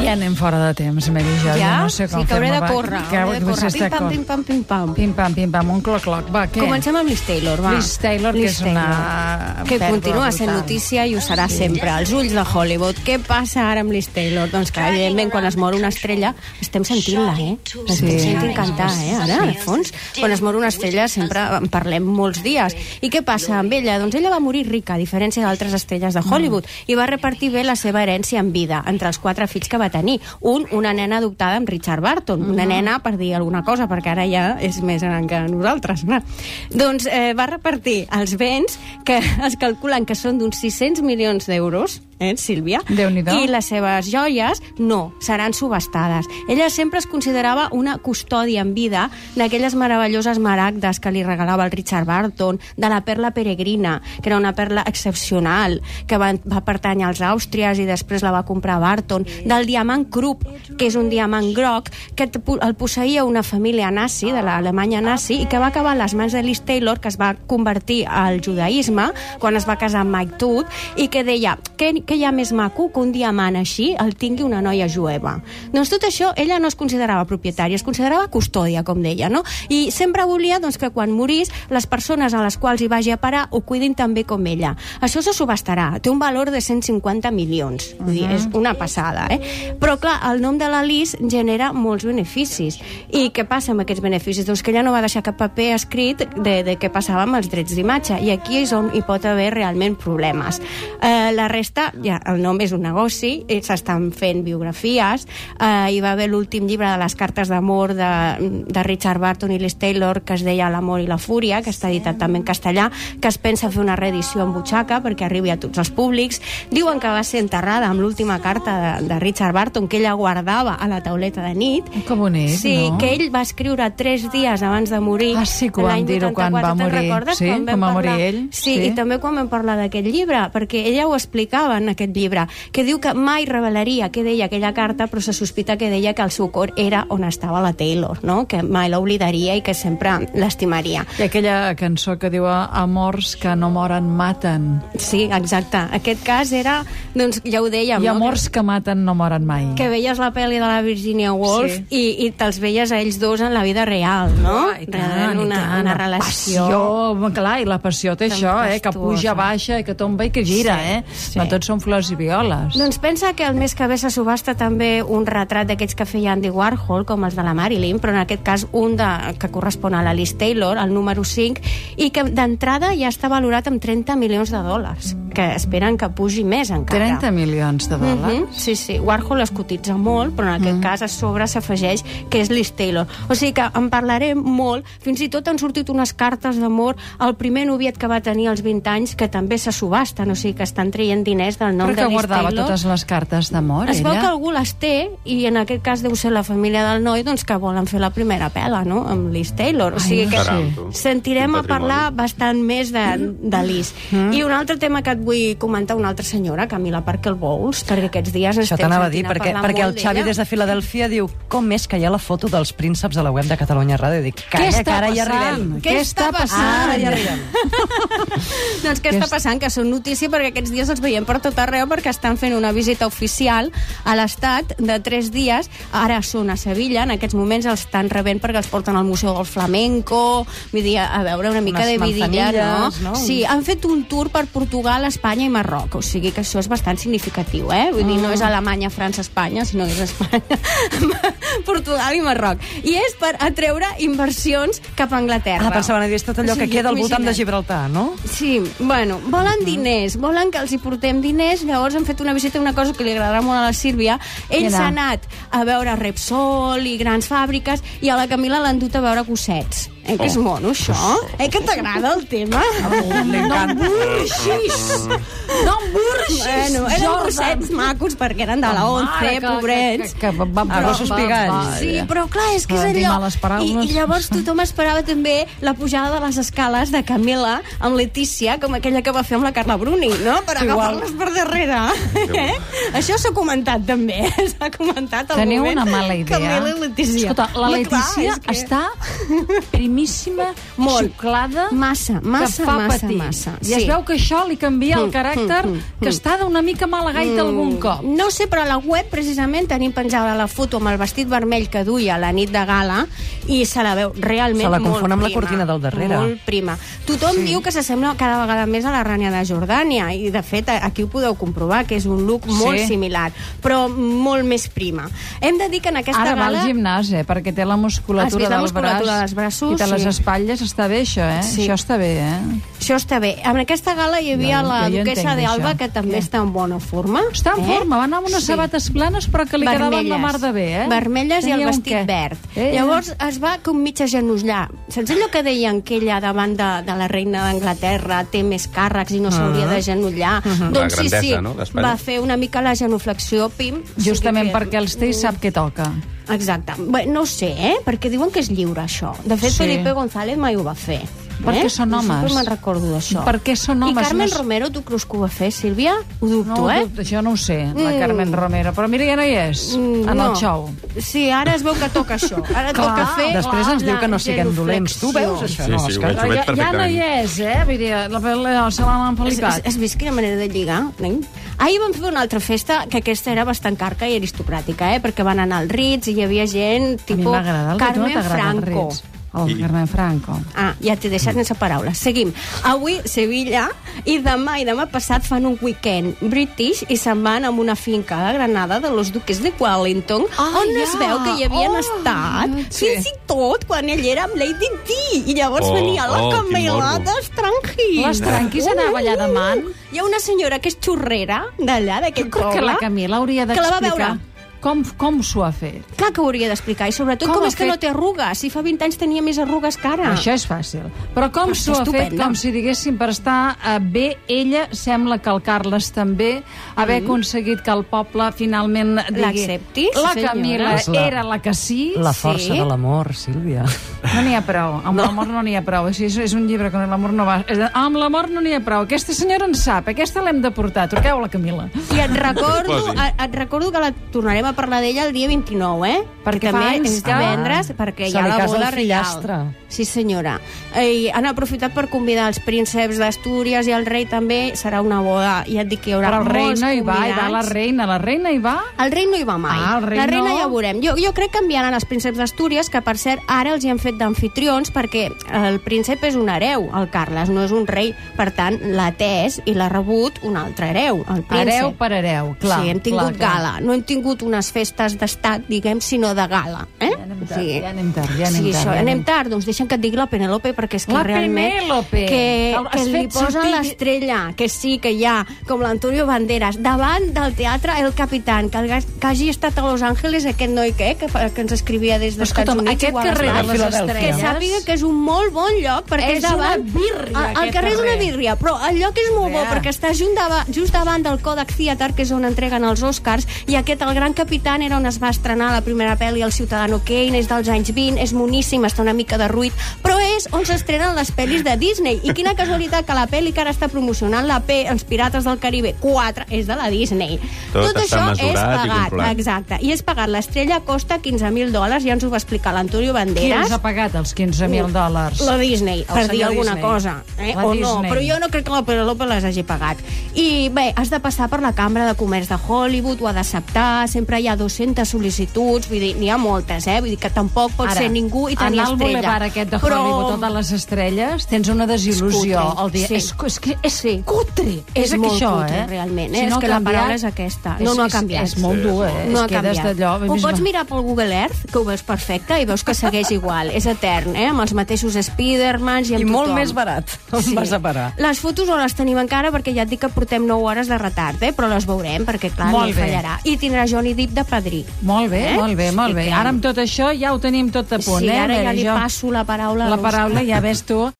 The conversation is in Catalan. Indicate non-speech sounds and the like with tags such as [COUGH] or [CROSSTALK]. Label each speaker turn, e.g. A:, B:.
A: ja anem fora de temps, Mary Jo.
B: Ja?
A: jo no sé
B: Sí,
A: com
B: que hauré
A: fer-me,
B: de
A: va.
B: córrer,
A: Que
B: hauré de
A: potser
B: córrer.
A: està
B: Pim, pam,
A: cor-
B: pim, pam, pim, pam.
A: Pim, pam, pim, pam, un cloc-cloc. Va, què?
B: Comencem amb Liz Taylor, va.
A: Liz Taylor, que
B: Liz
A: és una
B: Taylor, Que
A: pèrdua
B: continua sent
A: brutal.
B: notícia i ho serà sempre. Els ulls de Hollywood. Què passa ara amb Liz Taylor? Doncs que, evidentment, quan es mor una estrella, estem sentint-la, eh? L'estem
A: Sí.
B: sentint cantar, eh? Ara, de fons. Quan es mor una estrella, sempre en parlem molts dies. I què passa amb ella? Doncs ella va morir rica, a diferència d'altres estrelles de Hollywood, i va repartir bé la seva herència en vida, entre els quatre fills que va tenir. Un, una nena adoptada amb Richard Barton. Una nena, per dir alguna cosa, perquè ara ja és més gran que nosaltres. Clar. Doncs eh, va repartir els béns que es calculen que són d'uns 600 milions d'euros, eh, Sílvia?
A: Déu-n'hi-do.
B: I les seves joies, no, seran subestades. Ella sempre es considerava una custòdia en vida d'aquelles meravelloses maragdes que li regalava el Richard Barton, de la perla peregrina, que era una perla excepcional, que va, va pertànyer als Àustries i després la va comprar Barton, del diamant Krupp, que és un diamant groc, que t- po- el posseïa una família nazi, de l'Alemanya nazi, i que va acabar a les mans de Liz Taylor, que es va convertir al judaïsme quan es va casar amb Mike Todd, i que deia, què, què hi ha més maco que un diamant així el tingui una noia jueva? Doncs tot això, ella no es considerava propietària, es considerava custòdia, com deia, no? I sempre volia doncs, que quan morís, les persones a les quals hi vagi a parar ho cuidin també com ella. Això se subestarà, té un valor de 150 milions, vull dir, és una passada, eh? Però, clar, el nom de la Liz genera molts beneficis. I què passa amb aquests beneficis? Doncs que ella no va deixar cap paper escrit de, de què passava amb els drets d'imatge, i aquí és on hi pot haver realment problemes. Eh, la resta, ja, el nom és un negoci, eh, s'estan fent biografies, eh, hi va haver l'últim llibre de les cartes d'amor de, de Richard Barton i Liz Taylor, que es deia L'amor i la fúria, que està editat també en castellà, que es pensa fer una reedició en butxaca perquè arribi a tots els públics. Diuen que va ser enterrada amb l'última carta de, de Richard Barton, que ella guardava a la tauleta de nit,
A: Que bonic,
B: Sí,
A: no?
B: que ell va escriure tres dies abans de morir.
A: Ah, sí, que ho vam
B: l'any
A: dir-ho quan
B: 84.
A: va
B: Te'n
A: morir.
B: recordes
A: Sí,
B: quan vam
A: quan va
B: parlar?
A: morir ell,
B: Sí,
A: sí.
B: i també quan vam parlar d'aquest llibre, perquè ella ho explicava en aquest llibre, que diu que mai revelaria què deia aquella carta, però se sospita que deia que el seu cor era on estava la Taylor, no? que mai l'oblidaria i que sempre l'estimaria.
A: I aquella cançó que diu Amors que no moren maten.
B: Sí, exacte. Aquest cas era, doncs ja ho dèiem,
A: I
B: no?
A: amors que maten no moren mai.
B: que veies la pel·li de la Virginia Woolf
A: Sí.
B: i, i te'ls veies a ells dos en la vida real, no?
A: Ah, i tant,
B: Realment
A: i
B: una,
A: tant,
B: una
A: la
B: relació...
A: Passió, home, clar, i la passió té
B: Tan
A: això, eh, que
B: fastuosa.
A: puja, baixa, i que tomba i que gira,
B: Sí,
A: eh?
B: sí.
A: No tots són flors i violes.
B: Doncs pensa que el mes que ve se subhasta també un retrat d'aquests que feia Andy Warhol, com els de la Marilyn, però en aquest cas un de, que correspon a la Liz Taylor, el número 5, i que d'entrada ja està valorat amb 30 milions de dòlars, que esperen que pugi més encara.
A: 30 milions de
B: Mm
A: dòlars.
B: Sí, sí, Warhol es cotitza molt, però en aquest
A: Mm.
B: cas a sobre s'afegeix que és Liz Taylor. O sigui que en parlarem molt, fins i tot han sortit unes cartes d'amor al primer noviet que va tenir als 20 anys, que també se subasten, o sigui que estan traient diners del nom
A: Però
B: de
A: que
B: Liz
A: guardava
B: Taylor.
A: totes les cartes d'amor,
B: Es veu que
A: ella.
B: algú les té, i en aquest cas deu ser la família del noi, doncs que volen fer la primera pela, no?, amb Liz Taylor. O sigui que
C: Caram, tu.
B: sentirem
C: Quin
B: a parlar
C: patrimoni.
B: bastant més de, de Liz.
D: Mm.
B: I un altre tema que et vull comentar una altra senyora, Camila Parker Bowles, perquè aquests dies
D: Això
B: estem
D: t'anava a dir,
B: sentint
D: perquè,
B: parlar
D: perquè el
B: molt
D: Xavi
B: d'ella.
D: des de Filadelfia diu com és que hi ha la foto dels prínceps a la web de Catalunya Ràdio? Dic, calla, que ara hi arribem.
A: Què està
D: Ara hi
A: passant?
D: arribem.
B: [LAUGHS] Doncs què està passant? Que són notícia perquè aquests dies els veiem per tot arreu perquè estan fent una visita oficial a l'estat de tres dies. Ara són a Sevilla, en aquests moments els estan rebent perquè els porten al Museu del Flamenco, vull dir, a veure una mica
D: Unes
B: de vidilla, no?
D: manzanillas, no?
B: Sí, han fet un tour per Portugal, Espanya i Marroc, o sigui que això és bastant significatiu, eh? Vull dir,
D: Ah.
B: no és Alemanya, França, Espanya, sinó que és Espanya, [LAUGHS] Portugal i Marroc. I és per atreure inversions cap a Anglaterra.
D: Ah, pensava, havia estat allò
B: Sí,
D: que queda al voltant de
B: imagina't.
D: Gibraltar, no?
B: Sí, bueno, volen diners, volen que els hi portem diners, llavors han fet una visita a una cosa que li agradarà molt a la Sílvia. Ell
A: Què
B: s'ha
A: era?
B: anat a veure Repsol i grans fàbriques i a la Camila l'han dut a veure gossets. Eh, que és
C: Oh.
B: mono, això? Eh, que t'agrada el tema?
A: Burxis! No em burxis,
B: Bueno, eren
A: Jordan!
B: gossets macos perquè eren de la
A: Mare,
B: 11,
A: que-
B: pobrets.
A: Que, que, que van
D: A gossos pigats.
B: Sí, però clar, és que és
A: Dir
B: allò...
A: males
B: I,
A: paraules.
B: I llavors tothom esperava també la pujada de les escales de Camila amb Letícia, com aquella que va fer amb la Carla Bruni, no? Per agafar-les per darrere. Eh? Això s'ha comentat també, [LAUGHS] s'ha comentat al
A: Teniu
B: moment.
A: una mala idea.
B: Camila i Letícia.
A: Escolta, la
B: Home, clar,
A: Letícia
B: és que-
A: està primíssima boníssima,
B: Molt.
A: xuclada,
B: Massa, massa,
A: que fa
B: massa,
A: patir.
B: massa.
A: I es
B: Sí.
A: veu que això li canvia el
B: Mm,
A: caràcter
B: mm, mm,
A: que està d'una mica mala gaita algun cop.
B: No sé, però a la web precisament tenim penjada la foto amb el vestit vermell que duia la nit de gala i se la veu realment
D: Se la
B: molt
D: confon amb la
B: prima,
D: cortina del darrere.
B: Molt prima. Tothom sí. diu que s'assembla cada vegada més a la Rània de Jordània i de fet a- aquí ho podeu comprovar que és un look
A: Sí.
B: molt similar, però molt més prima. Hem de dir que en aquesta
A: Ara va
B: gala
A: al gimnàs, eh? Perquè té la
B: Has
A: musculatura
B: vist la
A: del
B: musculatura
A: braç.
B: dels braços?
A: I de les
B: Sí.
A: espatlles està bé, això, eh?
B: Sí.
A: Això està bé, eh?
B: Això està bé. En aquesta gala hi havia
A: No,
B: la
A: jo ja
B: duquesa
A: entenc
B: d'Alba,
A: això.
B: que també
A: Ja.
B: està en bona forma.
A: Està en
B: eh?
A: forma, va anar amb unes
B: Sí.
A: sabates planes però que li quedaven la mar de bé, eh?
B: Vermelles i
A: Tenia
B: el
A: un
B: vestit
A: què.
B: verd. Eh, Llavors es va com mitja genollar. Saps allò que deien que ella davant de, de la reina d'Anglaterra té més càrrecs i no s'hauria
A: Ah.
B: de genollar?
A: Mhm.
B: Doncs
C: La grandesa,
B: sí, sí,
C: no, d'Espanya.
B: va fer una mica la genuflexió, pim. o sigui
A: Justament
B: que-
A: perquè els té i sap què toca.
B: Exacte. Bé, no ho sé, eh? Perquè diuen que és lliure, això. De fet,
A: Sí.
B: sí. Felipe González mai ho va fer.
A: Perquè
B: eh?
A: són homes.
B: Sempre me'n recordo d'això.
A: Perquè són homes,
B: I Carmen
A: no és-
B: Romero, tu creus que ho va fer, Sílvia? Ho dubto,
A: no,
B: eh?
A: dubte, Això no ho sé, la
B: Mm.
A: Carmen Romero. Però mira, ja no hi és,
B: Mm,
A: en
B: no.
A: el xou.
B: Sí, ara es veu que toca això.
A: Clar,
B: Ara toca fer...
D: Després ens diu que no siguem dolents. Tu veus això,
C: Sí,
D: no,
C: sí, ho
A: Però
C: veig.
D: Òscar?
A: ja, ja no
C: perfectament.
A: hi és, eh? Vull dir, la, la, la, se l'han
B: Has, has,
A: empelicat.
B: has vist quina manera de lligar? Nen? Ahir vam fer una altra festa que aquesta era bastant carca i aristocràtica, eh? perquè van anar al Ritz i hi havia gent
A: A mi
B: tipus
A: m'agrada el que tu no
B: Carmen
A: t'agrada el
B: Franco.
A: Ritz. El Carmen Franco.
B: Ah, ja t'he deixat sense paraules. Seguim. Avui, Sevilla, i demà i demà passat fan un weekend british i se'n van amb una finca de Granada de los duques de Wellington,
A: Ah,
B: on
A: ja.
B: es veu que hi havien
A: Oh,
B: estat
A: sí.
B: fins i tot quan ell era amb Lady Di. I llavors
C: Oh,
B: venia la
C: oh, quin
B: Camela
C: morbo.
B: dels tranquis.
A: Les tranquis anava allà de man.
B: Hi ha una senyora que és xurrera d'allà, d'aquell
A: Crec
B: poble.
A: que la Camila hauria
B: que la va
A: d'explicar
B: veure.
A: com, com s'ho ha fet.
B: Clar que ho hauria d'explicar. I sobretot
A: Com
B: com,
A: ha
B: és que
A: fet-
B: no té arrugues. Si fa 20 anys tenia més arrugues que ara.
A: Això és fàcil. Però com
B: Ah. Però
A: s'ho
B: està
A: ha fet,
B: estupenda.
A: com si diguéssim, per estar eh, bé ella, sembla que el Carles també, haver
B: Mm.
A: aconseguit que el poble finalment digui...
B: L'acceptis,
A: La
B: senyora."
A: Camila
D: És la-
A: era la que sí.
D: La força
B: Sí.
D: de l'amor, Sílvia.
A: No n'hi ha prou. Amb l'amor no n'hi ha prou. Així és, és un llibre que amb l'amor no va... és de- Amb l'amor no n'hi ha prou. Aquesta senyora en sap. Aquesta l'hem de portar. Truqueu a la Camila.
B: I et recordo,
C: Posi.
B: et, et recordo que la tornarem a parlar d'ella el dia 29, eh?
A: Perquè
B: Que
A: fa
B: també
A: anys
B: és
A: que-
B: divendres,
D: Ah,
B: perquè
D: se
B: hi ha
D: li
B: la
D: casa el
B: boda
D: fillastre.
B: reial. Sí, senyora. I han aprofitat per convidar els prínceps d'Astúries i el rei també. Serà una boda, ja et dic que hi haurà
A: Però el rei
B: molts
A: no hi va, hi va
B: convidats.
A: la reina. La reina hi va?
B: El rei no hi va mai.
A: Ah, el rei
B: la reina
A: no.
B: ja ho veurem. Jo, jo crec que enviaran els prínceps d'Astúries, que per cert ara els hi han fet d'anfitrions perquè el príncep és un hereu, el Carles, no és un rei. Per tant, l'ha atès i l'ha rebut un altre hereu, el príncep.
A: Hereu per hereu, clar.
B: sí, hem
A: clar,
B: tingut
A: clar.
B: gala. No hem tingut unes festes d'estat, diguem, sinó de gala. Eh?
A: Ja anem tard, ja anem tard, ja anem
B: sí,
A: tard,
B: Això,
A: ja
B: anem,
A: anem
B: tard, doncs deixa'm que et digui la Penelope, perquè és que
A: La
B: realment...
A: Penélope!
B: Que,
A: El-
B: que
A: has
B: li
A: fet
B: posen
A: sortir-
B: l'estrella, que sí, que hi ha, com l'Antonio Banderas, davant del teatre El Capitán, que, el gas- que hagi estat a Los Angeles aquest noi que, que, fa- que ens escrivia des dels Estats
A: Escolta'm,
B: Units.
A: aquest
B: igual
A: carrer
B: està.
A: de les
D: Filadèlfia.
A: estrelles...
B: que sàpiga que és un molt bon lloc perquè
A: És
B: és davant...
A: una birria,
B: el, el
A: aquest
B: carrer és una
A: carrer.
B: birria, però el lloc és molt bo
A: Ja.
B: perquè està just davant, just davant del Kodak Theater que és on entreguen els Oscars i aquest, el gran capitán, era on es va estrenar la primera pel·li, El Ciutadano Kane és dels anys 20, és moníssim, està una mica de ruït però és on s'estrenen les pel·lis de Disney i quina casualitat que la pel·li que ara està promocionant la P, Els Pirates del Caribe 4 és de la Disney
C: Tot està
B: això és
C: mesurat i
B: pagat,
C: controlat.
B: exacte i és pagat, l'estrella costa 15.000 dòlars ja ens ho va explicar l'Antonio
A: Qui
B: Banderas
A: ens ha pagat els 15.000 dòlars?
B: la Disney, per dir
A: senyor
B: alguna
A: Disney.
B: cosa. Eh?
A: La
B: O no,
A: Disney.
B: però jo no crec que la Penelope les hagi pagat. I bé, has de passar per la Cambra de Comerç de Hollywood, ho ha d'acceptar, sempre hi ha 200 sol·licituds, vull dir, n'hi ha moltes, eh? Vull dir que tampoc pot ser ningú i tenir
A: anar al
B: estrella.
A: bulevard aquest de Hollywood, tota però... totes les estrelles, tens una desil·lusió.
B: És cutre,
A: El dia...
B: sí.
A: és, és, que és
B: Sí.
A: cutre.
B: És
A: que
B: molt
A: això,
B: cutre,
A: eh?
B: realment, eh? És que la
A: ha canviat,
B: paraula és aquesta. No, no ha canviat.
A: És, és molt
C: Sí,
A: dur, eh?
B: no ha
A: es quedes
B: canviat.
A: d'allò...
B: Ho pots mirar pel Google Earth, que ho veus perfecte, i veus que segueix igual. És etern, eh? Amb els mateixos Spidermans i amb
D: I molt
B: tothom.
D: més barat. On sí. vas a parar?
B: Les fotos no les tenim encara perquè ja et dic que portem 9 hores de retard, eh? però les veurem perquè, clar,
A: Molt
B: no
A: bé.
B: fallarà. I tindrà Johnny Depp de padrí.
A: Molt bé,
B: Eh?
A: eh? molt bé, molt
B: I
A: bé.
B: que-
A: Ara amb tot això ja ho tenim tot a punt,
B: sí,
A: eh?
B: ara
A: A
B: ja
A: veure,
B: li
A: jo-
B: passo la paraula. a
A: La
B: l'Òscar.
A: paraula ja ves tu.